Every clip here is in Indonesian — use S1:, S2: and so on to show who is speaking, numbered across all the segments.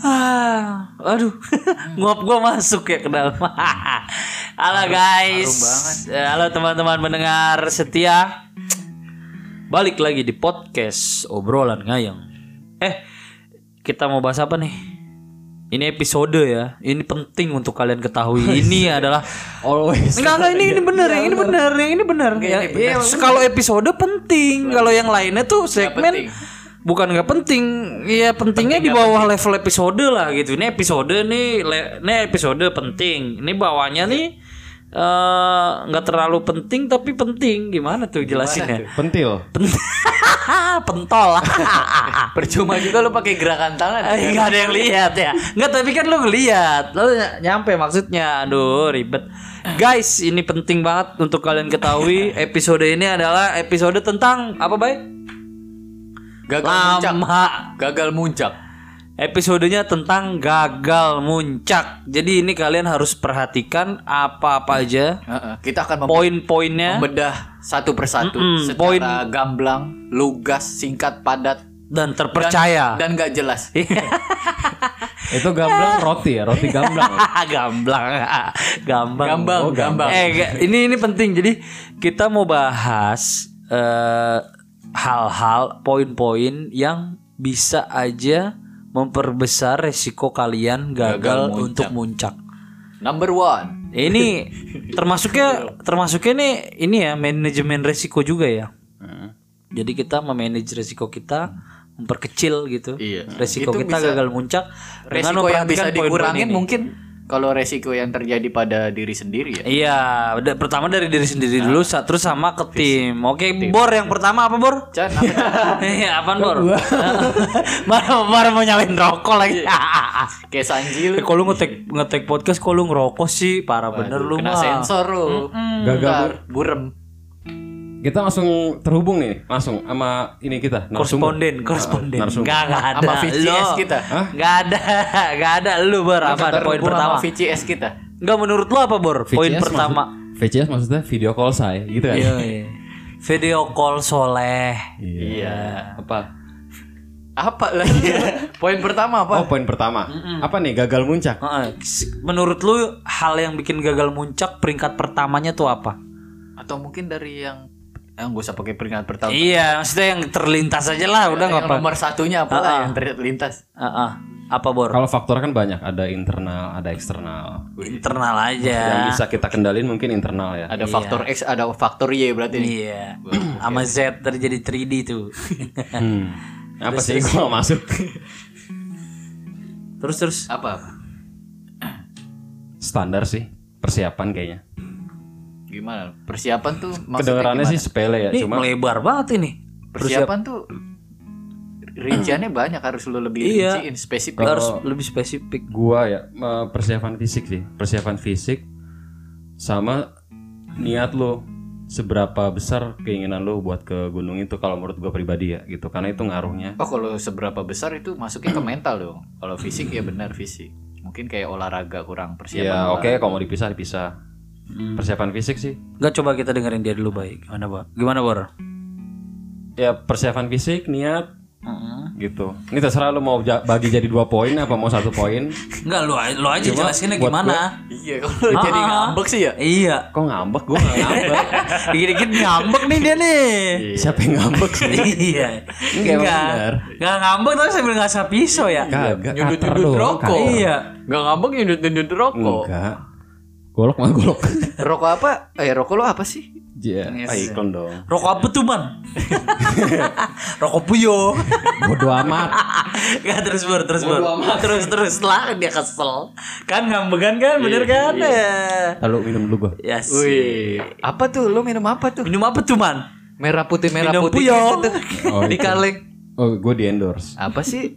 S1: Ah, aduh,
S2: Hmm.
S1: nguap gua masuk ya ke dalam. Halo guys,
S2: harum banget.
S1: halo teman-teman mendengar setia. Balik lagi di podcast obrolan ngayang. Eh, kita mau bahas apa nih? Ini episode ya. Ini penting untuk kalian ketahui. Ini adalah
S2: Always. Iya,
S1: Enggak enggak ini ini bener yang ini bener yang ini bener. Yang-
S2: ini bener.
S1: ya, kalau episode penting, kalau yang lainnya tuh segmen
S2: penting.
S1: bukan nggak penting. Iya pentingnya di bawah level episode lah gitu. Ini episode nih, le- ini episode penting. Ini bawahnya
S2: Iya.
S1: nih eh, nggak terlalu penting tapi penting. Gimana tuh jelasinnya?
S3: Pentil.
S1: Pentol.
S2: Percuma juga lu pakai gerakan tangan.
S1: Eh, nggak ada yang lihat ya. Nggak tapi kan lu ngelihat. Lu ny- nyampe maksudnya. Aduh, ribet. Guys, ini penting banget untuk kalian ketahui. Episode ini adalah episode tentang apa, Bay?
S2: Gagal muncak.
S1: Lama.
S2: Gagal muncak.
S1: Episodenya tentang gagal muncak. Jadi ini kalian harus perhatikan apa-apa aja
S2: Heeh, Kita akan mem-
S1: poin-poinnya
S2: membedah satu persatu
S1: Mm-mm,
S2: secara
S1: poin.
S2: gamblang, lugas, singkat, padat,
S1: dan terpercaya.
S2: dan gak jelas.
S3: Itu gamblang roti ya, roti gamblang.
S1: Gamblang. Gambang.
S2: Gambang,
S3: Oh,
S2: gambang.
S1: Eh, ga- ini ini penting. Jadi kita mau bahas eh, hal-hal, poin-poin yang bisa aja memperbesar resiko kalian gagal,
S2: Gagal muncak.
S1: untuk muncak.
S2: Number one.
S1: Ini termasuknya termasuknya nih ini ya manajemen resiko juga ya. Jadi kita memanage resiko kita memperkecil gitu.
S2: Iya.
S1: Resiko
S2: Itu
S1: kita
S2: bisa-
S1: gagal muncak dengan
S2: Resiko yang bisa
S1: memperhatikan poin-poin
S2: dikurangin
S1: ini.
S2: mungkin kalau resiko yang terjadi pada diri sendiri ya.
S1: Iya, da- pertama dari diri sendiri dulu, sa- terus sama ke tim. Oke, Bor yang pertama apa Bor?
S2: Chan, apa, Chan?
S1: Iya, apaan Bor? Marah marah mau nyalain rokok lagi.
S2: Kayak Sanji lu.
S1: Eh, kalau lu ngetek ngetek podcast kalau lu ngerokok sih parah bener lu
S2: Kena
S1: mah.
S2: sensor lu.
S3: Gagal.
S2: Ntar, Burem.
S3: Kita langsung terhubung nih, langsung sama ini kita. narasumber.
S1: Koresponden, koresponden.
S3: Ah, narsum.
S1: Enggak, enggak ada.
S2: Sama VCS kita.
S3: Hah?
S1: Enggak ada, enggak ada lu Bor apa ada poin
S2: Terhubung
S1: pertama?
S2: sama VCS kita.
S1: Enggak menurut lu apa Bor? Poin
S3: VCS
S1: pertama.
S3: maksud- VCS maksudnya video call saya gitu kan.
S1: Iya, iya. Video call soleh.
S2: Iya.
S3: Apa?
S2: Apa lagi? Poin pertama apa?
S3: Oh, poin pertama. Apa nih gagal muncak?
S1: Heeh. Menurut lu hal yang bikin gagal muncak peringkat pertamanya tuh apa?
S2: Atau mungkin dari yang yang gak Ah, usah pakai peringatan pertama.
S1: Iya, maksudnya yang terlintas aja lah, udah nggak
S2: yang
S1: apa.
S2: nomor satunya apa
S1: Ah, ah.
S2: yang terlintas?
S1: Heeh. Apa bor?
S3: Kalau faktor kan banyak, ada internal, ada eksternal.
S1: Internal
S3: Yang
S1: aja.
S3: bisa kita kendalin mungkin internal ya.
S2: Iya. Ada faktor X, ada faktor Y berarti.
S1: Iya. Sama Z terjadi 3D tuh.
S3: Hmm. Apa sih gua nggak masuk?
S1: terus terus.
S2: Apa? apa?
S3: Standar sih, persiapan kayaknya.
S2: Gimana? Persiapan tuh maksudnya
S3: Kedengarannya
S2: gimana?
S3: sih sepele ya,
S1: Ini
S3: cuma
S1: melebar banget ini.
S2: Persiapan tuh rinciannya banyak harus lu lebih
S1: Iya.
S2: rinciin spesifik.
S1: Harus lebih spesifik.
S3: gua ya eh, persiapan fisik sih persiapan fisik sama niat lo seberapa besar keinginan lo buat ke gunung itu kalau menurut gua pribadi ya gitu karena itu ngaruhnya
S2: Oh kalau seberapa besar itu masuknya ke mental dong. Kalau fisik ya benar fisik. Mungkin kayak olahraga kurang persiapan.
S3: ya Hmm. oke kalau mau dipisah dipisah persiapan fisik sih
S1: Enggak coba kita dengerin dia dulu baik. Gimana bor? Gimana bor?
S3: ya persiapan fisik niat gitu ini terserah lo mau ja- bagi jadi dua poin apa mau satu poin
S1: Enggak lu lu aja jelasinnya gimana.
S2: Iya kalau jadi ngambek sih ya.
S1: Iya.
S3: kok ngambek gua nggak ngambek
S1: Dikit-dikit ngambek nih dia nih.
S3: Iya. siapa yang ngambek sih
S1: Iya.
S3: Enggak, emang
S1: Enggak.
S3: bener.
S1: Enggak ngambek tapi sambil ngasah pisau ya.
S3: Iya, kagak
S2: Nyundut-nyundut
S3: kater doang,
S2: rokok.
S3: kater.
S1: Iya.
S2: Gak ngambek nyundut-nyundut rokok.
S3: enggak golok mah golok
S2: Rokok apa? Eh rokok lo apa sih?
S3: Iya,
S1: Yes.
S3: ah, iklan dong.
S1: Rokok apa tuh man? Rokok puyo
S3: Bodo amat.
S1: Gak terus bor terus bor Terus terus lah dia kesel Kan ngambegan kan
S3: Iya,
S1: bener kan
S3: Lalu minum dulu gua.
S1: Ya Yes
S2: Wih. Apa tuh? Lo minum apa tuh?
S1: Minum apa tuh man?
S2: Merah putih merah
S1: Minum
S2: putih.
S1: puyong.
S2: gitu tuh.
S3: Oh,
S2: Di
S3: itu.
S2: kaleng.
S3: Oh, gue di endorse.
S2: Apa sih?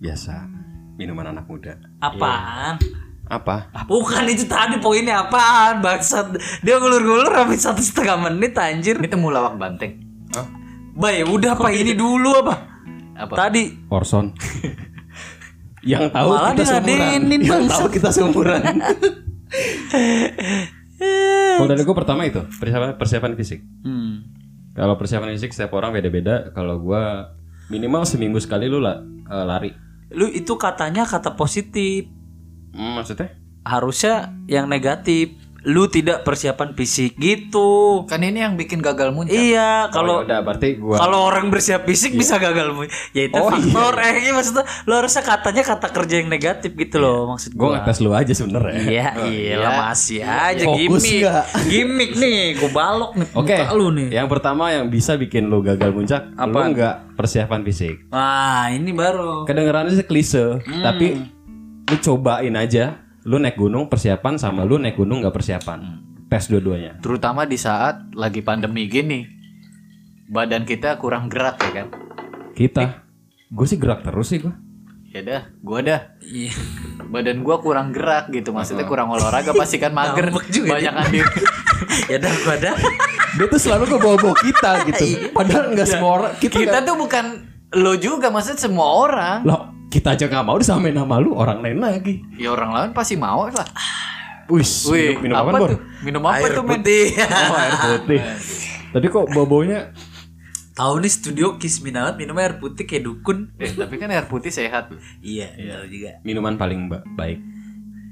S3: Biasa minuman anak muda.
S1: Apaan?
S3: Iya. Apa?
S1: Bukan itu tadi poinnya apaan Bangsat Dia ngulur-ngulur habis satu setengah menit anjir
S2: Ini temu lawak banteng.
S3: Hah?
S1: Bay udah apa ini
S3: gitu?
S1: dulu apa?
S2: Apa?
S1: Tadi
S3: Orson. Yang tahu
S1: Malah
S3: kita
S1: diradenin,
S3: seumuran. Yang tahu kita seumuran. Kalau dari gue pertama itu persiapan persiapan fisik.
S1: Hmm.
S3: Kalau persiapan fisik setiap orang beda-beda. Kalau gua minimal seminggu sekali lu la- eh, lari.
S1: Lu itu katanya kata positif.
S3: Hmm, maksudnya?
S1: Harusnya yang negatif. Lu tidak persiapan fisik gitu.
S2: Kan ini yang bikin gagal muncul.
S1: Iya, kalau
S3: Ya udah berarti gua
S1: kalau orang bersiap fisik bisa gagal mu. Ya itu
S3: Iya. Oh,
S1: faktor eh iya, maksudnya lu harusnya katanya kata kerja yang negatif gitu loh maksud
S3: Iya. gua
S1: gua.
S3: ngetes lu aja sebenernya.
S1: Iya, iyalah masih aja
S3: Fokus
S1: gimmick.
S3: nggak?
S1: Gimmick nih, gua balok nih
S3: Oke. Iya.
S1: muka lu nih.
S3: Yang pertama yang bisa bikin lu gagal puncak, lu nggak persiapan fisik.
S1: Wah, ini baru.
S3: Oh. Kedengerannya sih klise, tapi lu cobain aja. Lu naik gunung persiapan sama lu naik gunung nggak persiapan. Tes dua-duanya.
S2: Terutama di saat lagi pandemi gini. Badan kita kurang gerak ya kan.
S3: Kita, gue sih gerak terus sih gua.
S2: Ya dah, gua dah.
S1: Iya.
S2: Badan gua kurang gerak gitu, maksudnya kurang olahraga pasti kan mager.
S1: Ngambek juga
S2: Banyak di
S1: ya dah gua dah.
S3: Dia tuh selalu kebawa-bawa kita gitu. Padahal nggak semua orang
S2: Kita tuh bukan lo juga maksudnya semua orang.
S3: Loh, kita aja nggak mau disamain nama lu orang lain lagi.
S2: Ya orang lain pasti mau lah.
S3: Wis,
S2: Wih,
S3: minum, minum
S2: apa
S3: apaan, Bor?
S2: tuh? Minum apa
S1: Air
S2: tuh, men?
S1: putih.
S3: Oh, air putih. Tadi kok bau-baunya
S1: Tahu nih studio Kismin banget minum air putih kayak dukun.
S2: Eh, tapi kan air putih sehat.
S1: Iya, tahu juga.
S3: minuman paling ba- baik.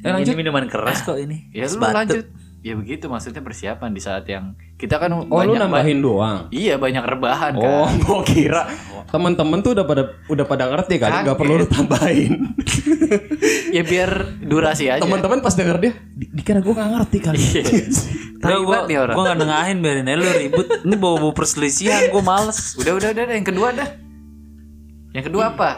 S1: ini minuman keras kok ini.
S2: Ya
S1: Terus
S2: lu lanjut. Ya begitu maksudnya persiapan di saat yang kita kan
S3: Oh, lu
S2: banyak
S3: nambahin doang.
S2: Iya, banyak rebahan kan.
S3: Oh, gua kira temen-temen tuh udah pada udah pada ngerti kali, nggak perlu lu tambahin.
S2: Ya biar durasi aja.
S3: Temen-temen pas denger dia, "Di- dikira gua nggak ngerti kali.
S1: Gak,
S2: Taiwan
S1: gua,
S2: nih orang.
S1: gua gak nengahin biarin aja lu ribut Ini bawa-bawa perselisihan gua males
S2: Udah, udah, udah, udah, yang kedua dah. Yang kedua apa?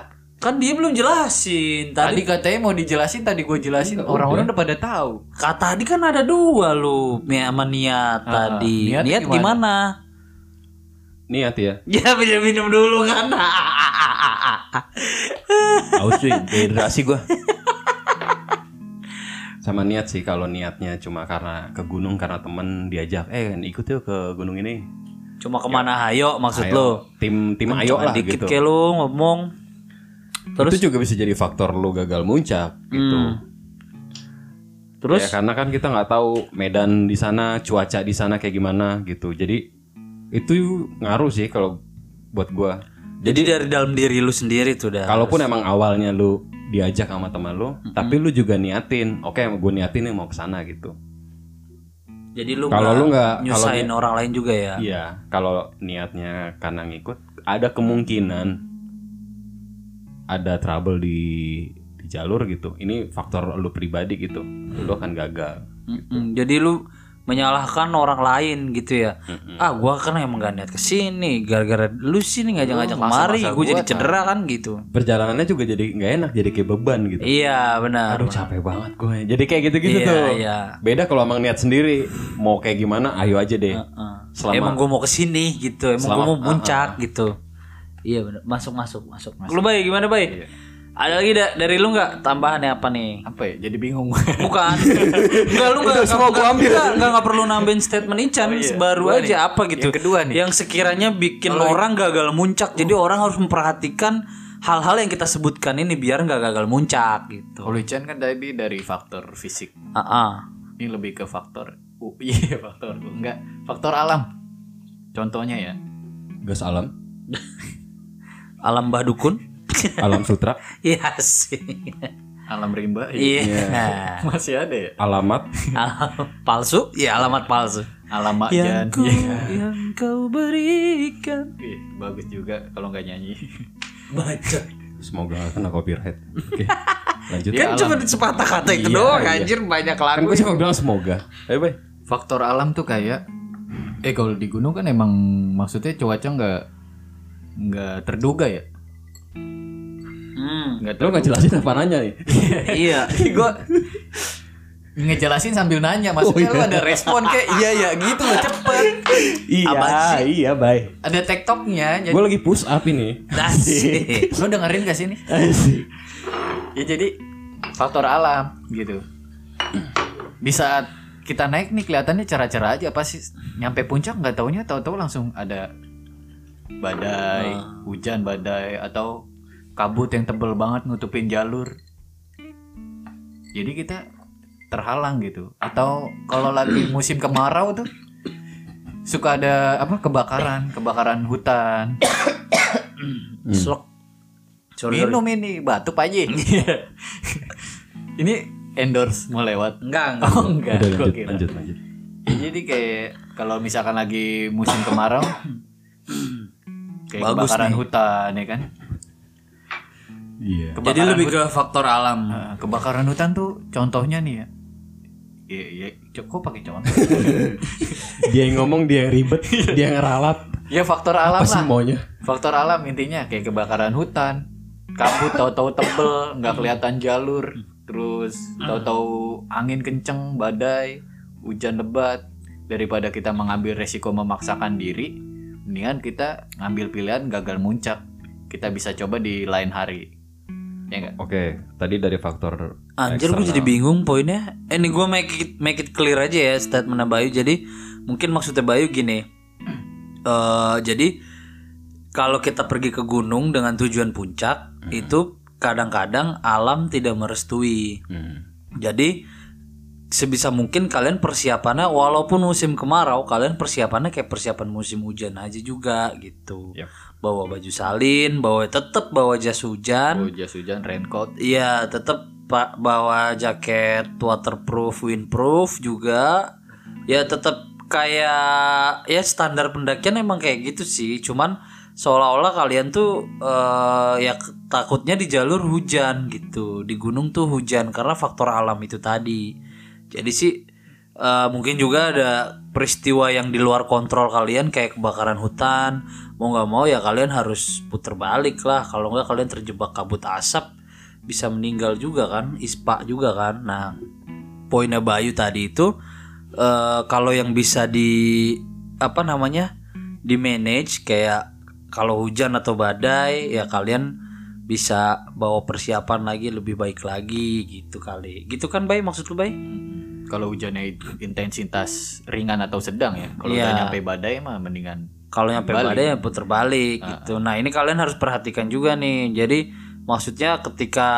S1: Kan dia belum jelasin
S2: Tadi
S1: Tadi
S2: katanya mau dijelasin, tadi gue jelasin. Orang-orang udah pada tahu.
S1: kata tadi kan ada dua lu Mia sama niat tadi Niat
S2: niatnya
S1: gimana?
S3: Niat ya.
S1: Ya minum-minum dulu kan
S3: Aus sih, dehidrasi gua. Sama niat sih kalau niatnya cuma karena ke gunung karena temen diajak, eh ikut yuk ke gunung ini.
S1: Cuma kemana hayo maksud lu
S3: Ayo, tim tim ayo
S1: Jangan
S3: lah
S1: dikit
S3: gitu.
S1: kayak lu ngomong Terus Hmm.
S3: Itu juga bisa jadi faktor lu gagal muncak gitu.
S1: Terus
S3: Ya karena kan kita nggak tahu medan di sana, cuaca di sana kayak gimana gitu. Jadi itu ngaruh sih kalau buat gua.
S1: Jadi dari dalam diri lu sendiri tuh dah
S3: Kalaupun emang awalnya lu diajak sama teman lu, tapi lu juga niatin, oke gue niatin nih mau ke sana gitu.
S1: Jadi lu
S3: Kalau
S1: nggak
S3: lu nggak- kalau
S1: nyusahin orang lain juga ya
S3: Iya, kalau niatnya karena ngikut, ada kemungkinan ada trouble di di jalur gitu. Ini faktor lu pribadi gitu. Lu akan gagal.
S1: Mm-mm. Jadi lu menyalahkan orang lain gitu ya. Ah, gua kan emang gak niat kesini, gara-gara lu sih nih ngajak-ngajak kemari, gua jadi cedera kan gitu.
S3: Perjalanannya juga jadi nggak enak, jadi kayak beban gitu.
S1: Iya, benar.
S3: Aduh capek banget gue. Jadi kayak gitu-gitu
S1: Iya,
S3: tuh.
S1: iya.
S3: Beda kalau emang niat sendiri, mau kayak gimana, ayo aja deh.
S1: Heeh.
S3: Selama-
S1: Ah. Emang gua mau kesini gitu, emang gua
S3: Selama-
S1: mau puncak gitu. Iya benar. Masuk masuk masuk. Lu baik gimana baik? Ada lagi da- dari lu nggak tambahan apa nih?
S2: Apa ya? Jadi bingung.
S1: Bukan. Enggak lu enggak semua gua ambil. Enggak enggak perlu nambahin statement
S2: Oh,
S1: Ican baru aja apa gitu.
S2: iya. Yang kedua nih. Oh.
S1: Yang sekiranya bikin orang gagal muncak. Jadi orang harus memperhatikan hal-hal yang kita sebutkan ini biar nggak gagal muncak gitu.
S2: Kalau Ican kan tadi dari faktor fisik.
S1: Ah, ah.
S2: Ini lebih ke faktor. Uh, iya, faktor. Enggak, faktor alam. Contohnya ya.
S3: Gas alam,
S1: Alam Mbah Dukun.
S3: alam sutra,
S1: Iya sih.
S2: Alam rimba. ya.
S1: Iya.
S2: Masih ada ya?
S3: alamat,
S1: Alam palsu? Iya, alamat palsu.
S2: Alam
S1: Yang
S2: Jan.
S1: ku,
S2: Iya.
S1: yang kau berikan.
S2: Ih, bagus juga kalau nggak nyanyi.
S1: Baca.
S3: semoga gak kena copyright. Oke. Lanjut.
S1: Kan
S2: Iya,
S1: cuma sepatah kata itu doang anjir banyak lagu.
S3: Kan gue cuma bilang semoga. Ayo, Bay.
S2: Faktor alam tuh kayak eh kalau di gunung kan emang maksudnya cuaca nggak nggak terduga ya.
S1: Hmm.
S2: Nggak
S3: Lu gak jelasin apa nanya nih.
S1: Iya.
S2: gue ngejelasin sambil nanya maksudnya lu ada respon kayak iya ya gitu loh cepet
S1: Apaan sih?
S3: iya, Bay.
S2: ada tektoknya jadi
S3: Gue lagi push up ini.
S1: Asik.
S2: lu dengerin gak sih nih ya jadi faktor alam gitu di saat kita naik nih kelihatannya cerah-cerah aja pasti nyampe puncak nggak taunya tahu-tahu langsung ada badai hujan badai atau kabut yang tebel banget nutupin jalur jadi kita terhalang gitu atau kalau lagi musim kemarau tuh suka ada apa kebakaran kebakaran hutan
S1: Slok. Sorry,
S2: Minum ini batuk aja. Iya. ini endorse mau lewat.
S1: Enggak, enggak.
S2: Oh enggak.
S3: Udah
S2: gua
S3: lanjut,
S2: kira.
S3: lanjut, lanjut.
S2: Jadi kayak kalau misalkan lagi musim kemarau kayak
S1: Bagus
S2: kebakaran
S1: nih.
S2: hutan ya kan.
S3: Iya.
S2: Kebakaran
S1: Jadi lebih ke faktor alam.
S2: Nah, kebakaran hutan tuh contohnya nih ya. Iya, iya, Co- kok pakai contoh.
S3: Dia yang ngomong, dia yang ribet, dia yang ngeralat.
S2: ya faktor alam
S3: Apa sih
S2: lah.
S3: maunya?
S2: Faktor alam intinya kayak kebakaran hutan, kabut tahu-tahu tebel, nggak kelihatan jalur, terus tahu-tahu angin kenceng, badai, hujan lebat. Daripada kita mengambil resiko memaksakan diri, mendingan kita ngambil pilihan gagal muncak. Kita bisa coba di lain hari. Ya enggak?
S3: Oke, tadi dari faktor
S1: Anjir gue jadi
S3: eksternal.
S1: bingung poinnya. Eh, Ini gue make it, make it clear aja ya statement Bayu. Jadi mungkin maksudnya Bayu gini. eh jadi kalau kita pergi ke gunung dengan tujuan puncak itu kadang-kadang alam tidak merestui.
S3: Hmm.
S1: Jadi sebisa mungkin kalian persiapannya walaupun musim kemarau kalian persiapannya kayak persiapan musim hujan aja juga gitu.
S3: Yap.
S1: Bawa baju salin, bawa tetap bawa jas hujan.
S2: Oh, jas hujan, raincoat.
S1: Iya, tetap Pak bawa jaket waterproof, windproof juga. Ya tetap kayak ya standar pendakian emang kayak gitu sih. Cuman seolah-olah kalian tuh eh, ya ke- takutnya di jalur hujan gitu. Di gunung tuh hujan karena faktor alam itu tadi. Jadi sih eh, mungkin juga ada peristiwa yang di luar kontrol kalian kayak kebakaran hutan. Mau nggak mau ya kalian harus puter balik lah. Kalau nggak kalian terjebak kabut asap bisa meninggal juga kan, ispa juga kan. Nah, poinnya Bayu tadi itu eh, kalau yang bisa di apa namanya di manage kayak kalau hujan atau badai ya kalian bisa bawa persiapan lagi lebih baik lagi gitu kali. Gitu kan Bay maksud lu Bay?
S2: Kalau hujannya it- intensitas ringan atau sedang ya. Kalau udah
S1: Iya.
S2: nyampe badai mah mendingan
S1: kalau nyampe
S2: Balik.
S1: badai ya puter balik gitu. Nah, ini kalian harus perhatikan juga nih. Jadi maksudnya ketika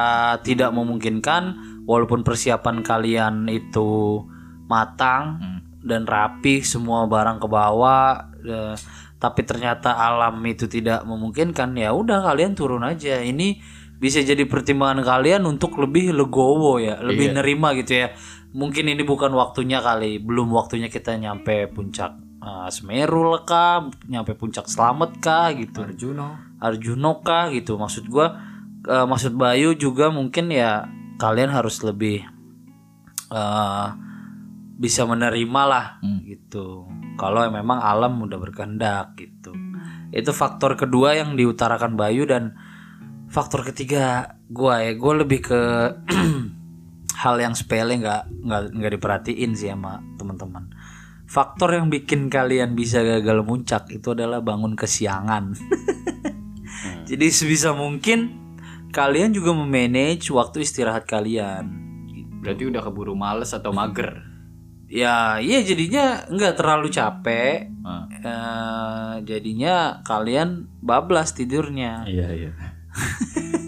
S1: tidak memungkinkan walaupun persiapan kalian itu matang
S2: Hmm.
S1: dan rapi semua barang ke bawah eh, tapi ternyata alam itu tidak memungkinkan ya udah kalian turun aja. Ini bisa jadi pertimbangan kalian untuk lebih legowo ya, lebih nerima gitu ya. Mungkin ini bukan waktunya kali, belum waktunya kita nyampe puncak eh, Semeru lah kah, nyampe puncak Slamet kah gitu.
S2: Arjuno.
S1: Arjuno kah gitu. Maksud gua eh, maksud Bayu juga mungkin ya kalian harus lebih eh bisa menerima lah
S2: Hmm.
S1: gitu. Kalau memang alam udah berkehendak gitu. Itu faktor kedua yang diutarakan Bayu dan faktor ketiga gua ya gue lebih ke hal yang sepele nggak nggak nggak diperhatiin sih sama teman-teman faktor yang bikin kalian bisa gagal muncak itu adalah bangun kesiangan
S3: Hmm.
S1: jadi sebisa mungkin kalian juga memanage waktu istirahat kalian.
S2: Berarti udah keburu males atau mager.
S1: Ya, iya jadinya nggak terlalu capek.
S3: Hmm.
S2: Ah.
S1: eh, jadinya kalian bablas tidurnya.
S3: Iya, iya.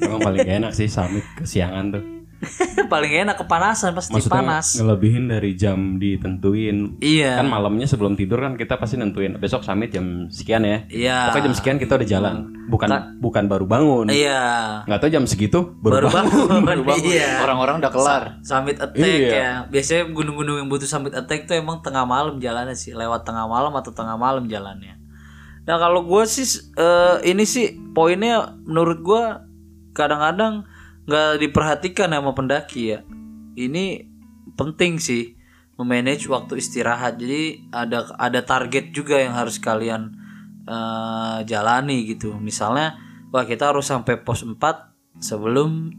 S3: Emang paling gak enak sih summit kesiangan tuh.
S1: Paling enak kepanasan pasti
S3: Maksudnya
S1: panas.
S3: ngelebihin dari jam ditentuin.
S1: Iya.
S3: Kan malamnya sebelum tidur kan kita pasti nentuin besok summit jam sekian ya.
S1: Iya.
S3: Pokoknya jam sekian kita udah jalan. Bukan bukan baru bangun.
S1: Iya.
S3: Nggak tahu jam segitu baru,
S1: Baru
S3: bangun.
S1: bangun.
S2: Baru bangun.
S1: Iya.
S2: Orang-orang udah kelar.
S1: Summit attack ya. Biasanya gunung-gunung yang butuh summit attack tuh emang tengah malam jalannya sih, lewat tengah malam atau tengah malam jalannya. Nah kalau gue sih eh, ini sih poinnya menurut gue kadang-kadang nggak diperhatikan sama pendaki ya. Ini penting sih memanage waktu istirahat. Jadi ada ada target juga yang harus kalian eh, jalani gitu. Misalnya wah kita harus sampai pos 4 sebelum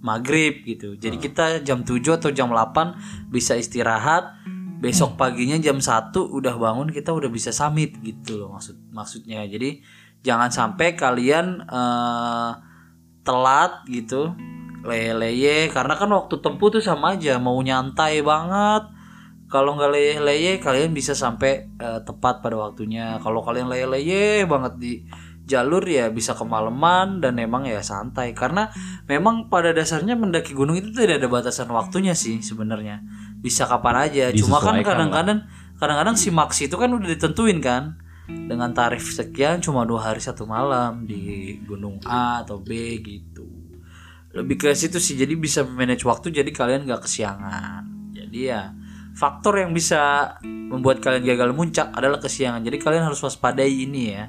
S1: maghrib gitu. Jadi kita jam 7 atau jam 8 bisa istirahat. Besok paginya jam 1 udah bangun kita udah bisa summit gitu loh maksud maksudnya. Jadi jangan sampai kalian eh, telat gitu leye-leye karena kan waktu tempuh tuh sama aja mau nyantai banget kalau nggak leye-leye kalian bisa sampai eh, tepat pada waktunya kalau kalian leye-leye banget di jalur ya bisa kemalaman dan emang ya santai karena memang pada dasarnya mendaki gunung itu tidak ada batasan waktunya sih sebenarnya bisa kapan aja cuma kan
S3: Disesuaikan lah.
S1: kadang-kadang kadang-kadang si maksi itu kan udah ditentuin kan dengan tarif sekian cuma dua hari satu malam di gunung A atau B gitu lebih ke situ sih jadi bisa manage waktu jadi kalian nggak kesiangan jadi ya faktor yang bisa membuat kalian gagal muncak adalah kesiangan jadi kalian harus waspadai ini ya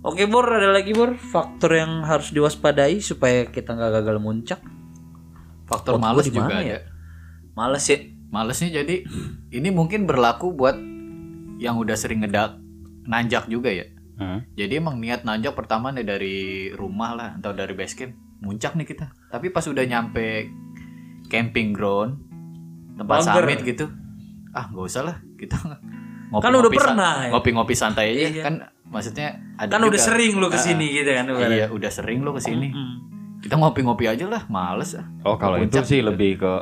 S1: oke bor ada lagi bor faktor yang harus diwaspadai supaya kita nggak gagal muncak Buat
S2: faktor
S1: gua
S2: males
S1: di mana
S2: juga
S1: ya?
S2: ada
S1: males ya
S2: malesnya jadi ini mungkin berlaku buat yang udah sering ngedak nanjak juga ya
S3: Hmm.
S2: jadi emang niat nanjak pertama nih dari rumah lah atau dari base camp muncak nih kita tapi pas udah nyampe camping ground tempat
S1: Bangger.
S2: summit gitu ah nggak usah lah kita ngopi
S1: Kan udah pernah ya.
S2: ngopi-ngopi santai aja
S1: Iya.
S2: kan maksudnya ada
S1: kan udah
S2: juga-
S1: sering lu kesini gitu kan
S2: Ah,
S1: ibarat.
S2: iya udah sering lo kesini
S1: Mm.
S2: kita ngopi-ngopi aja lah males ah
S3: Oh kalau itu
S2: Puncak
S3: sih lebih ke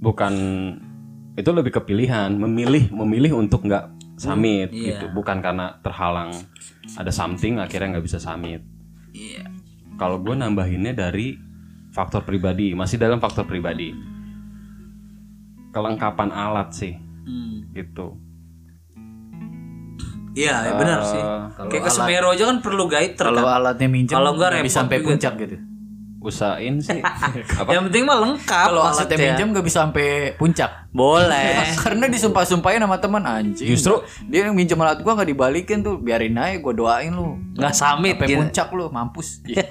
S3: bukan itu lebih kepilihan memilih memilih untuk nggak summit
S1: Iya.
S3: gitu bukan karena terhalang ada something akhirnya nggak bisa summit.
S1: Iya.
S3: Kalau gue nambahinnya dari faktor pribadi masih dalam faktor pribadi kelengkapan alat sih
S1: Mm.
S3: gitu.
S1: Iya, ya benar sih.
S2: Eh, kalau
S1: Kayak ke
S2: alat-
S1: Semeru aja kan perlu guide
S2: kalau alatnya minjem
S1: Kalau nggak
S2: nggak bisa
S1: repot
S2: sampai
S1: juga.
S2: puncak gitu
S3: Usahain sih apa?
S1: Yang penting mah lengkap
S2: kalau alatnya
S1: maksudnya.
S2: minjem nggak bisa sampai puncak
S1: Boleh.
S2: karena disumpah-sumpahin sama teman anjing
S3: Justru-
S2: dia yang minjem alat gua nggak dibalikin tuh biarin aja gua doain lu
S1: Nggak summit
S2: sampai
S1: gitu.
S2: puncak lu mampus
S1: Iya.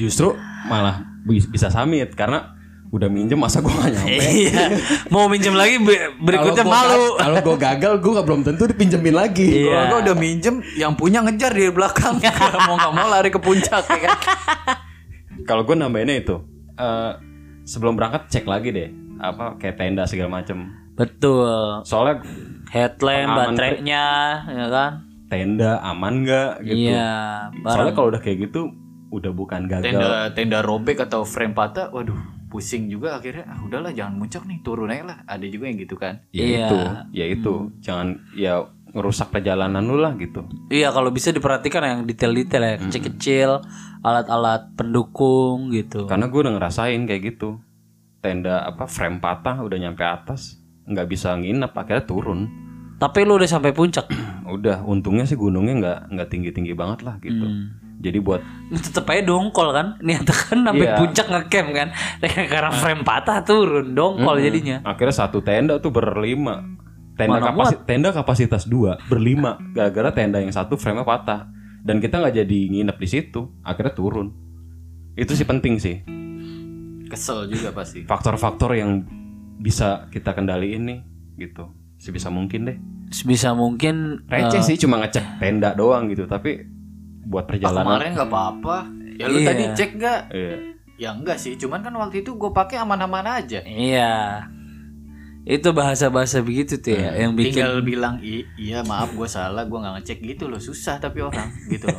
S3: Justru malah bi- bisa summit karena udah minjem masa gue gak nyampe.
S1: Iya. Mau minjem lagi be- berikutnya
S3: Eh, Kalau gua-
S1: malu.
S3: Kalau gue gagal gue nggak belum tentu dipinjemin
S1: Iya.
S3: lagi.
S2: kalau gua udah minjem yang punya ngejar di belakang mau nggak mau lari ke puncak ya kan
S3: Kalau gue nambahinnya itu eh, sebelum berangkat cek lagi deh apa kayak tenda segala macem.
S1: Betul.
S3: Soalnya
S1: Headlamp,
S3: Pengaman
S1: baterainya, ya kan?
S3: tenda aman nggak gitu.
S1: Iya,
S3: Soalnya
S1: barang.
S3: kalau udah kayak gitu udah bukan gagal.
S2: tenda tenda robek atau frame patah waduh pusing juga akhirnya ah udahlah jangan muncak nih turun aja lah ada juga yang gitu kan
S3: Ya
S1: Iya.
S3: itu, ya itu
S2: Hmm.
S3: jangan ya ngerusak perjalanan lu lah gitu.
S1: Iya, kalau bisa diperhatikan yang detail-detail ya, kecil-kecil, alat-alat pendukung gitu.
S2: Kan.
S3: Karena gue udah ngerasain kayak gitu. Tenda apa frame patah udah nyampe atas nggak bisa nginep akhirnya turun.
S1: Tapi lu udah sampai puncak.
S3: udah untungnya sih gunungnya nggak nggak tinggi tinggi banget lah gitu
S1: Hmm.
S3: jadi buat
S1: Ini tetep aja dongkol kan Niat kan sampai
S3: Iya.
S1: puncak ngecamp kan Karena frame patah turun Dongkol jadinya
S3: akhirnya satu tenda tuh berlima tenda
S1: Mana
S3: kapasi- tenda kapasitas dua berlima gara-gara tenda yang satu frame patah dan kita nggak jadi nginep di situ akhirnya turun itu sih penting sih
S2: kesel juga pasti
S3: faktor-faktor yang bisa kita kendaliin nih gitu sebisa mungkin deh
S1: Sebisa mungkin eh,
S3: receh sih cuma ngecek tenda doang gitu tapi buat
S2: Ah,
S3: perjalanan
S2: kemarin nggak apa-apa ya lu
S1: Iya.
S2: tadi cek nggak
S3: Iya.
S2: ya enggak sih cuman kan waktu itu gue pakai aman-aman aja
S1: Iya Itu bahasa-bahasa begitu tuh ya Yang bikin
S2: tinggal bilang "I- iya maaf gue salah gue nggak ngecek gitu loh susah tapi orang gitu loh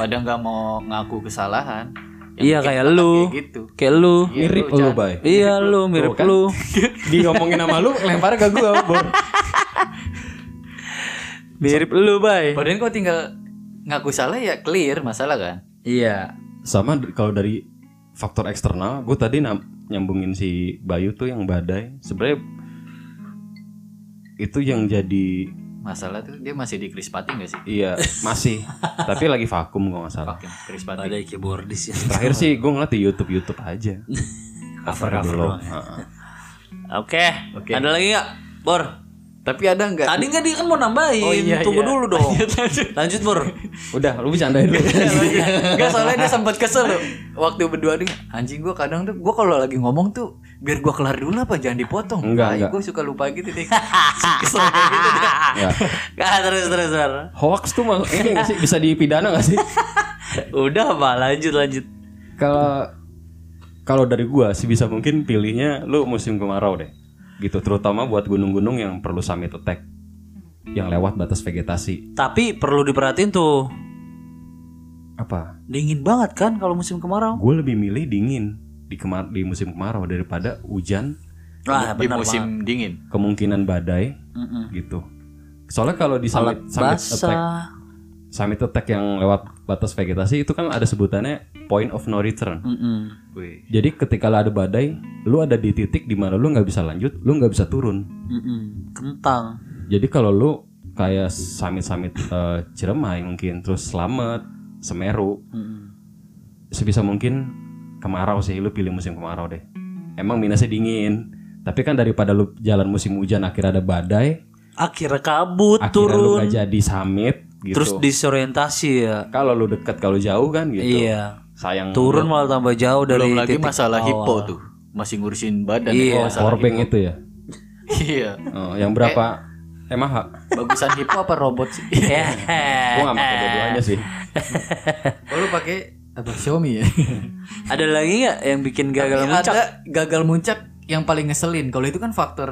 S2: pada nggak mau ngaku kesalahan
S1: Iya,
S2: mungkin
S1: kayak
S2: akan
S1: lu.
S2: kayak gitu
S1: Kayak lu
S2: Iya,
S3: mirip
S2: lu
S3: lu
S2: jangan-
S3: bay
S1: Iya lu mirip
S3: Tuh, kan?
S1: lu
S3: di ngomongin sama lu lempar ke gua Bor.
S1: Mirip lu bay
S2: padahal gue tinggal ngaku salah ya clear masalah kan
S1: Iya
S3: sama d- kalau dari faktor eksternal gue tadi nam- nyambungin si Bayu tuh yang badai sebenarnya itu yang jadi
S2: masalah tuh dia masih di krispati nggak sih
S3: iya masih tapi lagi vakum gue nggak salah
S2: pakai krispati
S1: Ada keyboardis ya
S3: terakhir sih gue ngeliat di YouTube YouTube aja
S1: Cover
S3: Cover
S1: cover
S3: dulu.
S1: doang ya.
S3: Heeh.
S1: Oke
S2: Oke.
S1: Ada lagi nggak Bor
S2: tapi ada nggak
S1: Tadi nggak dia kan mau nambahin
S2: Oh, iya,
S1: Tunggu
S2: iya.
S1: dulu dong Lanjut Bor
S3: udah lu bercandain dulu
S2: Enggak soalnya dia sempat kesel loh. Waktu berdua nih anjing gua kadang tuh gua kalau lagi ngomong tuh biar gua kelar dulu apa jangan dipotong.
S1: Nah,
S3: Enggak,
S2: Tai,
S3: enggak.
S2: Gua suka lupa gitu deh. kesel kayak gitu deh.
S3: ya.
S1: Nggak, terus terus Bor
S3: hoax tuh mas ini nggak sih bisa dipidana nggak sih
S1: Udah pak lanjut lanjut
S3: kalau kalau dari gua sih bisa mungkin pilihnya lu musim kemarau deh gitu terutama buat gunung-gunung yang perlu summit attack yang lewat batas vegetasi
S1: Tapi perlu diperhatiin tuh
S3: apa
S1: Dingin banget kan kalau musim kemarau
S3: gue lebih milih dingin di kemar di musim kemarau daripada hujan
S1: Wah
S2: Di
S1: benar
S2: musim
S1: banget
S2: dingin.
S3: kemungkinan badai
S1: Mm-mm.
S3: gitu soalnya kalau di
S1: Alat
S3: summit summit attack
S1: basah
S3: summit attack yang lewat batas vegetasi itu kan ada sebutannya point of no return
S1: Mm-mm.
S2: Wih.
S3: jadi ketika lu ada badai lu ada di titik di mana lu nggak bisa lanjut lu nggak bisa turun
S1: Mm-mm. Kentang
S3: Jadi kalau lu kayak summit-summit eh, Ciremai mungkin terus Slamet Semeru sebisa mungkin kemarau sih lu pilih musim kemarau deh emang minusnya dingin tapi kan daripada lu jalan musim hujan akhirnya ada badai
S1: Akhirnya kabut
S3: akhirnya
S1: turun.
S3: lu gak jadi summit gitu
S1: Terus disorientasi ya.
S3: kalau lu deket kalau jauh kan gitu
S1: Iya.
S3: sayang
S1: Turun malah tambah jauh dari
S2: Belum lagi
S1: titik
S2: masalah
S1: awal.
S2: hipo tuh. Masih ngurusin badan
S1: Iya.
S2: ya, kalau masalah
S3: powerbank
S2: hipo.
S3: itu ya
S2: Iya.
S3: Oh, yang berapa emang hak
S2: Bagusan hipo apa robot sih?
S3: gua gak pakai dua-duanya sih
S2: Oh, lu pakai apa Xiaomi ya?
S1: Ada lagi nggak yang bikin gagal
S2: Tapi
S1: muncak?
S2: Ada gagal muncak yang paling ngeselin. Kalau itu kan faktor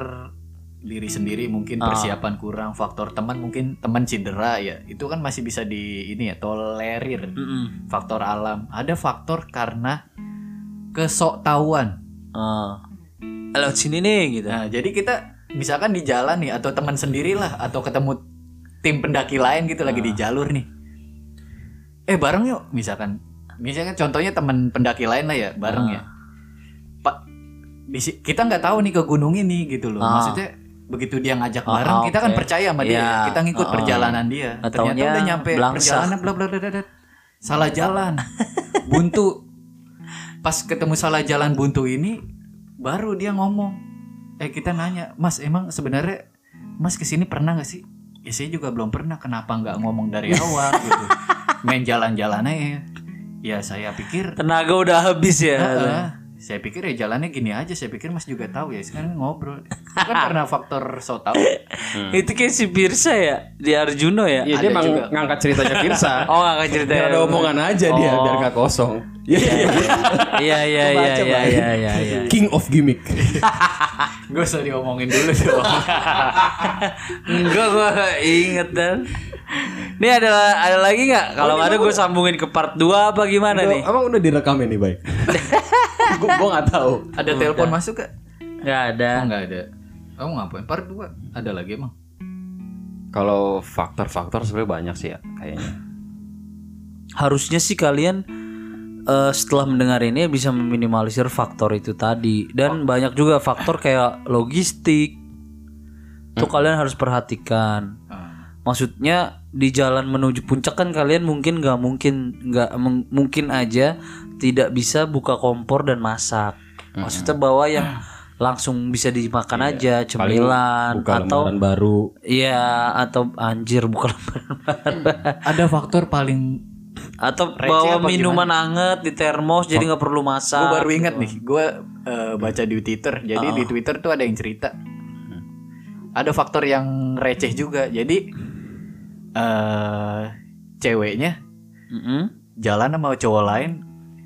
S2: diri sendiri mungkin persiapan kurang, faktor teman mungkin teman cedera ya. Itu kan masih bisa di ini ya tolerir.
S1: Mm-mm.
S2: Faktor alam, ada faktor karena kesoktahuan.
S1: Ah. Lewat sini nih gitu.
S2: Nah, jadi kita misalkan di jalan nih atau teman sendirilah atau ketemu tim pendaki lain gitu lagi
S1: Ah.
S2: di jalur nih. Eh bareng yuk misalkan. Misalkan contohnya teman pendaki lain lah ya bareng
S1: Ah.
S2: ya. Pak di si- kita nggak tahu nih ke gunung ini gitu loh.
S1: Ah.
S2: Maksudnya begitu dia ngajak
S1: Ah,
S2: bareng kita kan
S1: oke.
S2: percaya sama dia.
S1: Iya.
S2: Kita ngikut
S1: Ah, ah.
S2: perjalanan dia.
S1: Ataunya
S2: Ternyata udah nyampe
S1: belangsak.
S2: perjalanan bla bla bla bla, bla. Salah jalan. buntu. Pas ketemu salah jalan buntu ini baru dia ngomong. Eh kita nanya, "Mas, emang sebenarnya Mas kesini pernah nggak sih?" Ya saya juga belum pernah. Kenapa nggak ngomong dari awal gitu? Main jalan-jalan aja. Ya saya pikir
S1: Tenaga udah habis ya.
S2: Heeh. Saya pikir ya jalannya gini aja. Saya pikir Mas juga tahu ya. Sekarang ngobrol. Itu kan karena faktor so tahu.
S1: Itu kayak si Birsa ya di Arjuno ya.
S3: Iya
S2: Ada
S3: dia emang
S2: juga.
S3: ngangkat ceritanya Firsa.
S1: Oh nggak akan cerita.
S3: biar ada omongan aja dia
S1: Oh.
S3: biar gak kosong. Iya
S1: Iya iya iya iya iya iya. iya.
S3: King of gimmick.
S2: Gak usah diomongin dulu dong.
S1: Enggak gua inget dan. Nih ada ada lagi nggak? Kalau ada gue sambungin ke part 2 apa gimana nih?
S3: Emang udah direkam ini baik. gue gue nggak tahu.
S2: ada telepon masuk gak?
S1: Nggak ada.
S2: Enggak ada. Kamu ngapain? Part 2. Ada lagi emang.
S3: Kalau faktor-faktor sebenarnya banyak sih ya kayaknya.
S1: Harusnya sih kalian eh, setelah mendengar ini bisa meminimalisir faktor itu tadi dan banyak juga faktor kayak logistik. Itu kalian harus perhatikan.
S2: Ah.
S1: Maksudnya di jalan menuju puncak kan kalian mungkin nggak mungkin nggak meng- mungkin aja tidak bisa buka kompor dan masak. Maksudnya bawa yang langsung bisa dimakan aja cemilan
S3: Buka
S1: atau
S3: lembaran baru.
S1: iya atau anjir buka lembaran baru.
S2: Ada faktor paling
S1: atau
S2: Receh
S1: bawa
S2: apa
S1: minuman anget di termos jadi nggak perlu masak.
S2: gue baru ingat nih. Gue eh, baca di Twitter. Jadi di Twitter tuh ada yang cerita. Ada faktor yang receh juga. Jadi eh ceweknya
S1: Mm-mm.
S2: jalan sama cowok lain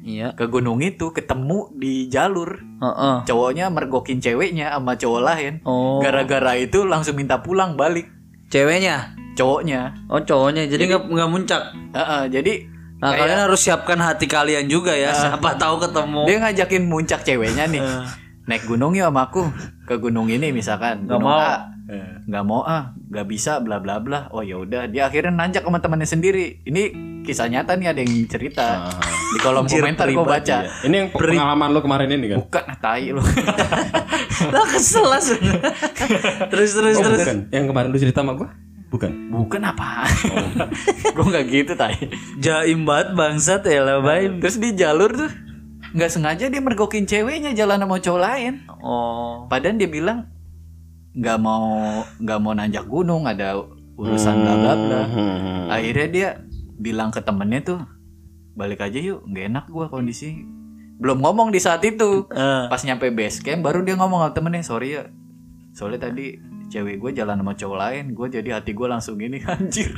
S1: Iya.
S2: ke gunung itu ketemu di jalur
S1: Heeh.
S2: cowoknya mergokin ceweknya sama cowok lain
S1: Oh.
S2: gara-gara itu langsung minta pulang balik
S1: Ceweknya.
S2: cowoknya
S1: Oh cowoknya jadi nggak nggak muncak.
S2: Heeh, jadi
S1: Nah kalian harus siapkan hati kalian juga ya. Siapa tahu ketemu.
S2: dia ngajakin muncak ceweknya nih
S1: Eh.
S2: naik gunung yuk sama aku ke gunung ini misalkan
S1: Nggak
S2: gunung
S1: mau.
S2: A nggak mau ah nggak bisa bla bla bla oh ya udah dia akhirnya nanjak sama temannya sendiri ini kisah nyata nih ada yang cerita
S1: Ah.
S2: di kolom komentar gue baca
S3: Iya. Ini yang pengalaman lo kemarin ini kan.
S2: bukan ah, tai lu
S1: Lah kesel langsung. terus terus
S3: Oh,
S1: terus.
S3: bukan. Yang kemarin lu cerita sama gue? Bukan.
S2: bukan apa gue nggak gitu tai
S1: Oh. Jaim banget bangsat ya lah baim.
S2: Terus di jalur tuh nggak sengaja dia mergokin ceweknya jalan sama cowok lain.
S1: Oh.
S2: Padahal dia bilang nggak mau nggak mau nanjak gunung ada urusan bla bla bla.
S3: Hmm.
S2: Akhirnya dia bilang ke temennya tuh balik aja yuk nggak enak gua kondisi belum ngomong di saat itu
S1: Eh.
S2: pas nyampe base camp baru dia ngomong sama temennya sorry ya soalnya tadi cewek gue jalan sama cowok lain gue jadi hati gue langsung ini anjir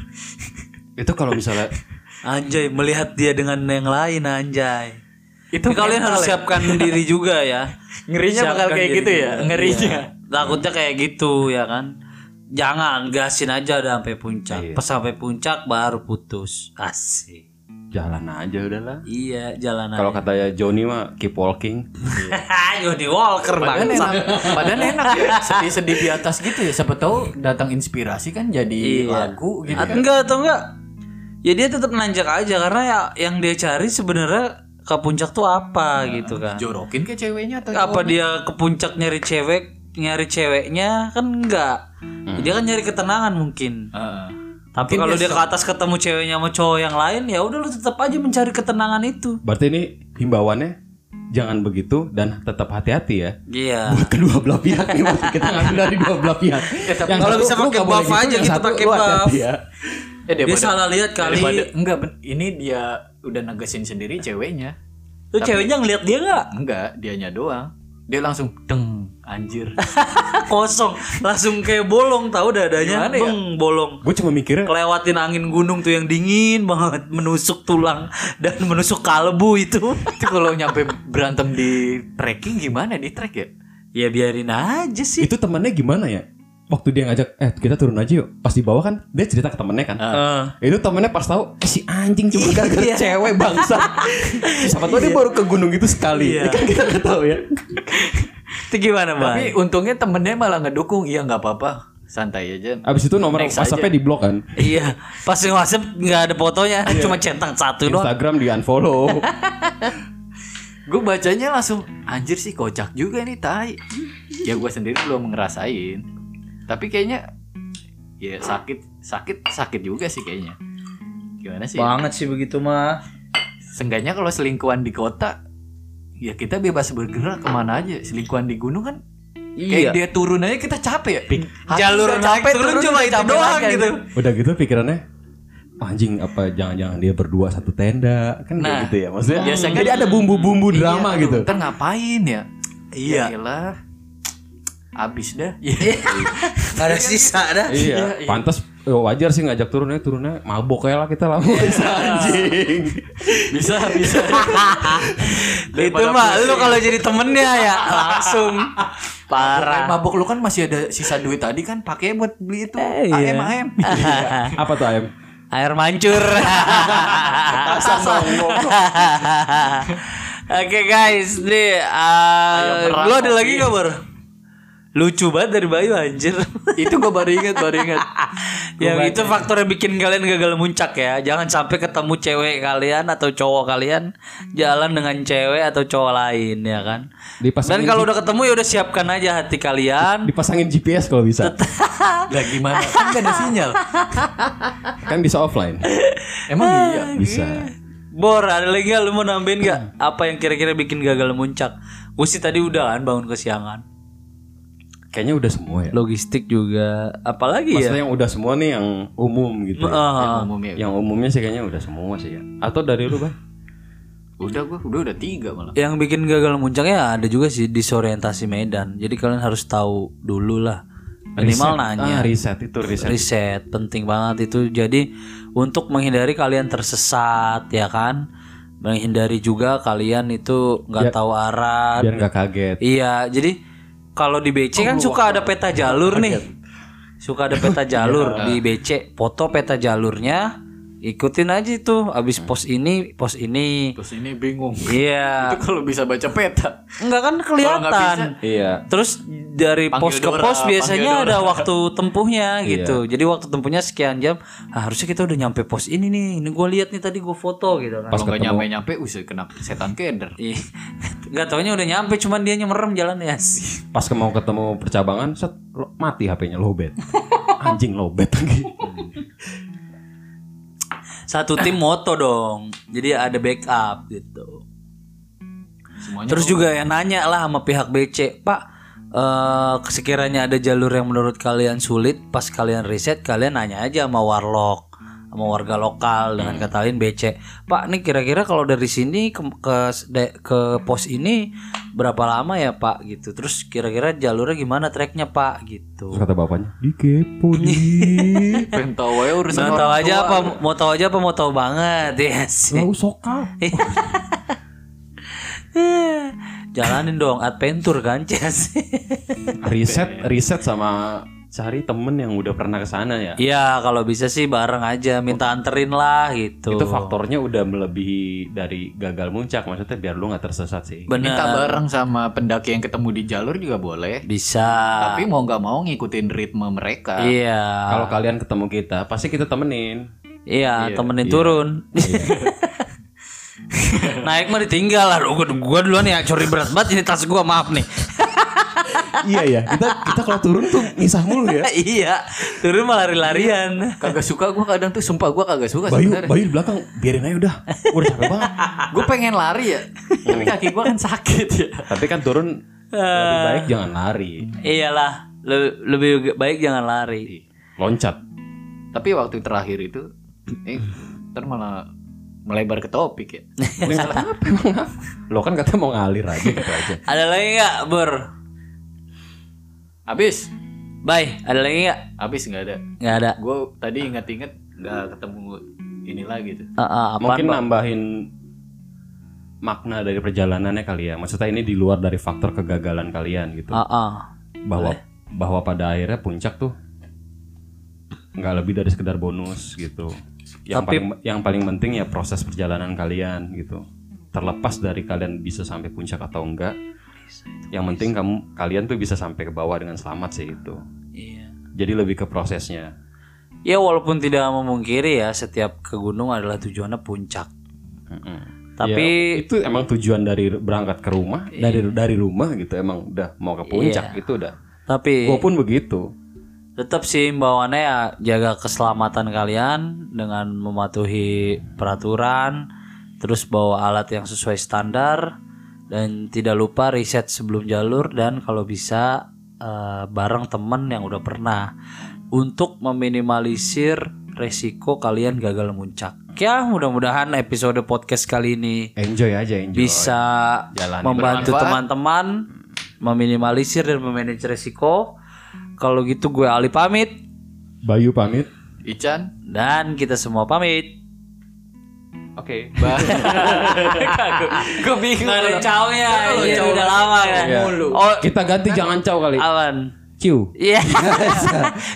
S3: Itu kalau misalnya
S1: Anjay melihat dia dengan yang lain anjay.
S2: itu
S1: Tapi kalian
S2: mental
S1: harus
S2: ya.
S1: siapkan diri juga ya.
S2: ngerinya bakal
S1: Siapkan
S2: kayak
S1: diri
S2: gitu ya
S1: juga.
S2: ngerinya
S1: Iya. Takutnya kayak gitu ya kan. Jangan gasin aja udah sampai puncak.
S3: Iya.
S1: Pas sampai puncak baru putus. Asik.
S3: jalan aja udahlah.
S1: Iya, jalanan.
S3: Kalau katanya Joni mah keep walking.
S1: Johnny Walker
S2: Padahal
S1: bangsa.
S2: iya. enak, padahal enak ya sedih-sedih di atas gitu ya. Siapa tahu datang inspirasi kan jadi
S1: Iya.
S2: lagu gitu.
S1: Atau enggak atau enggak? Ya dia tetap nanjak aja karena ya yang dia cari sebenarnya
S2: Iya.
S1: ke puncak tuh apa gitu kan.
S2: Jorokin ke ceweknya atau
S1: Apa dia ke puncak nyari cewek nyari ceweknya kan enggak.
S2: Hmm.
S1: Dia kan nyari ketenangan mungkin.
S2: Heeh.
S1: Tapi kalau dia ke atas ketemu ceweknya sama cowok yang lain, ya udah lu tetap aja mencari ketenangan itu.
S3: Berarti ini himbauannya jangan begitu dan tetap hati-hati ya.
S1: Iya.
S4: buat kedua belah pihak nih maksud kita ngambil dari dua belah pihak
S2: Eh,
S4: yang
S1: kalau
S4: satu,
S1: bisa
S4: lu
S1: pakai
S4: nggak boleh
S2: gitu
S4: gitu.
S1: buff aja,
S4: yang
S1: kita
S4: satu,
S1: pakai
S4: lu hati-hati
S1: buff.
S4: ya.
S2: Ya,
S1: Dia
S2: daripada-
S1: salah lihat kali.
S2: daripada- enggak ben- ini dia udah negesin sendiri ceweknya.
S1: Lu ceweknya ngeliat dia nggak?
S2: Enggak, dianya doang. Dia langsung deng anjir.
S1: Kosong, langsung kayak bolong tahu dadanya.
S2: Gimana ya?
S1: Beng, bolong.
S3: Gue cuma mikirnya
S1: Kelewatin angin gunung tuh yang dingin banget, menusuk tulang dan menusuk kalbu itu.
S2: Itu kalau nyampe berantem di trekking gimana di trek ya?
S1: ya biarin aja
S4: Iya,
S1: sih.
S3: itu temennya gimana ya? Waktu dia ngajak, eh kita turun aja yuk. Pas di bawah kan dia cerita ke temennya
S2: Ah.
S3: kan.
S1: Eh.
S3: Itu temennya pas tahu eh, si anjing cuma gara-gara
S1: Iya.
S3: cewek bangsa. Siapa tahu dia
S2: Iya.
S3: baru ke gunung itu sekali.
S1: Iya.
S3: Kan kita nggak tahu ya.
S1: Itu gimana, Bang?
S2: Tapi untungnya temennya malah ngedukung. Iya nggak apa-apa, santai aja.
S3: Abis itu nomor
S2: Next
S3: WhatsApp-nya
S2: aja.
S3: di blok kan.
S1: Iya, pas di WhatsApp nggak ada fotonya, cuma centang satu doang.
S3: Instagram di unfollow.
S2: Gue bacanya langsung anjir sih kocak juga nih tai. Ya gue sendiri belum ngerasain. Tapi kayaknya ya sakit sakit sakit juga sih kayaknya. Gimana sih?
S1: Banget sih begitu mah.
S2: Seenggaknya kalau selingkuhan di kota ya kita bebas bergerak kemana aja. Selingkuhan di gunung kan kayak
S1: Iya.
S2: dia turun aja kita capek ya. Hati
S1: Jalur
S2: udah
S1: naik turun
S2: udah
S1: cuma itu
S2: capek
S1: doang
S2: lagi.
S1: gitu.
S3: Udah gitu pikirannya "Wah, anjing apa jangan-jangan dia berdua satu tenda kan kayak
S2: Nah,
S3: gitu ya maksudnya
S2: biasanya-
S3: jadi ada bumbu-bumbu
S2: Iya,
S3: drama
S2: aduh,
S3: gitu
S2: Ntar ngapain ya?
S1: Iya.
S2: Yaelah. Abis dah.
S1: Gak ada sisa dah.
S3: iya,
S2: iya.
S3: pantas eh, wajar sih ngajak turunnya turunnya mabok kayak lah kita lah
S2: Iya.
S3: anjing
S2: bisa bisa.
S1: itu
S2: Daripada
S1: mah lu
S2: pusing.
S1: kalau jadi temennya ya langsung
S2: Eh,
S1: parah.
S2: mabok lu kan masih ada sisa duit tadi kan pakai buat beli itu
S1: Eh, iya.
S2: AM AM.
S3: apa tuh ayam
S1: Air mancur. Oke guys, nih
S2: Ayo
S1: uh,
S2: perang,
S1: lu ada
S2: Kopi.
S1: lagi gak baru? Lucu banget dari Bayu anjir.
S2: itu gue baru ingat baru ingat.
S1: yang itu faktor yang bikin kalian gagal muncak ya. Jangan sampai ketemu cewek kalian atau cowok kalian jalan dengan cewek atau cowok lain ya kan. Dan
S3: dipasangin
S1: kalau udah ketemu ya udah siapkan aja hati kalian.
S3: dipasangin GPS kalau bisa
S2: Lah gimana? Kan gak ada sinyal.
S3: kan bisa offline
S1: Eh.
S2: Emang iya.
S3: bisa
S1: Bor, ada lagi nggak? lu mau nambahin nggak? Apa yang kira-kira bikin gagal muncak? Gue sih tadi udah kan bangun kesiangan.
S3: kayaknya udah semua ya
S1: Logistik juga. Apalagi ya?
S3: maksudnya yang udah semua nih yang umum gitu ya.
S1: Ah,
S2: Umumnya.
S3: yang umumnya sih kayaknya udah semua sih ya atau dari lu bah
S2: Udah gue udah udah tiga malah.
S1: yang bikin gagal muncaknya ada juga sih disorientasi medan. Jadi kalian harus tahu dulu lah. Minimal nanya.
S3: ah, riset itu riset
S1: riset penting banget itu jadi untuk menghindari kalian tersesat ya kan menghindari juga kalian itu nggak tahu arah
S3: biar nggak kaget
S1: iya jadi kalau di BC kan suka ada peta jalur nih suka ada peta jalur
S2: Iya.
S1: di BC foto peta jalurnya ikutin aja itu abis
S2: Iya.
S1: pos ini pos ini
S2: Terus ini bingung.
S1: iya
S2: Itu kalau bisa baca peta.
S1: nggak kan kelihatan
S3: iya
S1: Terus dari
S2: Panggil Iya.
S1: pos ke
S2: Dora,
S1: pos biasanya
S2: panggil Dora.
S1: ada waktu tempuhnya gitu. Jadi waktu tempuhnya sekian jam. Ah, harusnya kita udah nyampe pos ini nih. Ini gue lihat nih tadi gue foto gitu kan.
S2: Pas nggak nyampe nyampe usah kena setan keder.
S1: Ih, Nggak taunya udah nyampe cuman dia merem jalan ya.
S3: pas ke mau ketemu percabangan set lo- mati HP-nya lobet anjing lobet lagi
S1: Satu tim moto dong. Jadi ada backup gitu.
S2: Semuanya.
S1: Terus juga yang nanya lah sama pihak BC, Pak, eh sekiranya ada jalur yang menurut kalian sulit, pas kalian riset, kalian nanya aja sama warlock, sama warga lokal dengan kata lain BC, Pak, nih kira-kira kalau dari sini ke ke, de- ke pos ini berapa lama ya Pak gitu. Terus kira-kira jalurnya gimana treknya Pak gitu.
S3: terus kata bapaknya dikepo nih
S2: pengen tahu aja urusan
S1: Mau tahu
S2: orang
S1: aja
S2: tua.
S1: apa mau tahu aja apa mau tahu banget ya Iya. yes.
S3: lu soka
S1: Jalanin dong adventure kan Ces.
S3: riset riset sama cari temen yang udah pernah ke sana ya
S1: Iya kalau bisa sih bareng aja minta anterin lah gitu.
S3: itu faktornya udah melebihi dari gagal muncak maksudnya biar lu nggak tersesat sih
S1: Bener
S2: Minta bareng sama pendaki yang ketemu di jalur juga boleh.
S1: bisa.
S2: Tapi mau nggak mau ngikutin ritme
S1: Ah.
S2: mereka.
S1: Iya.
S3: kalau kalian ketemu kita pasti kita temenin
S1: Iya temenin turun. Naik mah ditinggal lah. Gua, gua duluan ya curi berat banget ini tas gua maaf nih.
S4: iya ya. Kita kita kalau turun tuh misah mulu ya.
S1: iya, turun malah lari-larian.
S2: Kagak suka gua kadang tuh sumpah gua kagak suka
S4: Bayu,
S2: sebenarnya.
S4: Bayu di belakang biarin aja udah. Gua Udah capek banget.
S2: Gue pengen lari ya, tapi kaki gua kan sakit ya.
S3: Tapi kan turun lebih baik jangan lari,
S1: Iyalah, le- lebih baik jangan lari.
S3: loncat.
S2: Tapi waktu terakhir itu, eh, ntar malah melebar ke topik ya.
S3: Lo kan katanya mau ngalir aja gitu aja.
S1: Ada lagi nggak, Bur?
S2: Abis,
S1: Bye, ada lagi nggak?
S2: abis nggak ada.
S1: Nggak ada.
S2: Gue tadi inget-inget nggak ketemu ini lagi tuh.
S1: Ah, ah, apaan,
S3: Mungkin
S1: Bang?
S3: nambahin makna dari perjalanannya kali ya. Maksudnya ini di luar dari faktor kegagalan kalian gitu.
S1: Ah, ah.
S3: bahwa bahwa pada akhirnya puncak tuh nggak lebih dari sekedar bonus gitu. Yang
S1: Tapi-
S3: paling yang paling penting ya proses perjalanan kalian gitu. Terlepas dari kalian bisa sampai puncak atau enggak, yang penting kamu kalian tuh bisa sampai ke bawah dengan selamat sih itu.
S1: Iya.
S3: Jadi lebih ke prosesnya.
S1: Ya walaupun tidak memungkiri ya, setiap ke gunung adalah tujuannya puncak.
S3: Mm-mm. Iya.
S1: Tapi
S3: Ya, itu emang tujuan dari berangkat ke rumah, dari dari rumah gitu emang udah mau ke puncak itu udah.
S1: tapi
S3: Gue pun begitu.
S1: tetap sih imbauannya ya jaga keselamatan kalian dengan mematuhi peraturan, terus bawa alat yang sesuai standar dan tidak lupa riset sebelum jalur dan kalau bisa eh, bareng temen yang udah pernah untuk meminimalisir resiko kalian gagal muncak. Ya mudah-mudahan episode podcast kali ini
S3: Enjoy aja enjoy.
S1: bisa
S3: Jalani
S1: membantu
S2: bermanfaat.
S1: teman-teman meminimalisir dan memanage resiko. Kalau gitu gue Ali pamit
S3: Bayu pamit.
S2: Ican,
S1: dan kita semua pamit.
S3: Oke.
S2: gue bingung.
S1: Gak ada cownya,
S2: Iya,
S1: udah lama kan. Oh,
S3: Kita ganti jangan caw kali.
S1: awan.
S3: Ciu.
S1: Iya.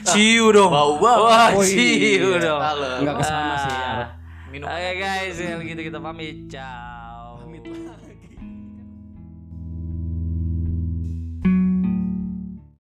S1: Ciu dong.
S2: Bau banget.
S1: Wah,
S3: Oh,
S1: ciu
S3: iya.
S1: dong.
S2: Halo.
S3: Nggak kesana sih.
S1: Ah.
S2: Minum
S1: Oke guys, kalau gitu kita pamit. Ciao.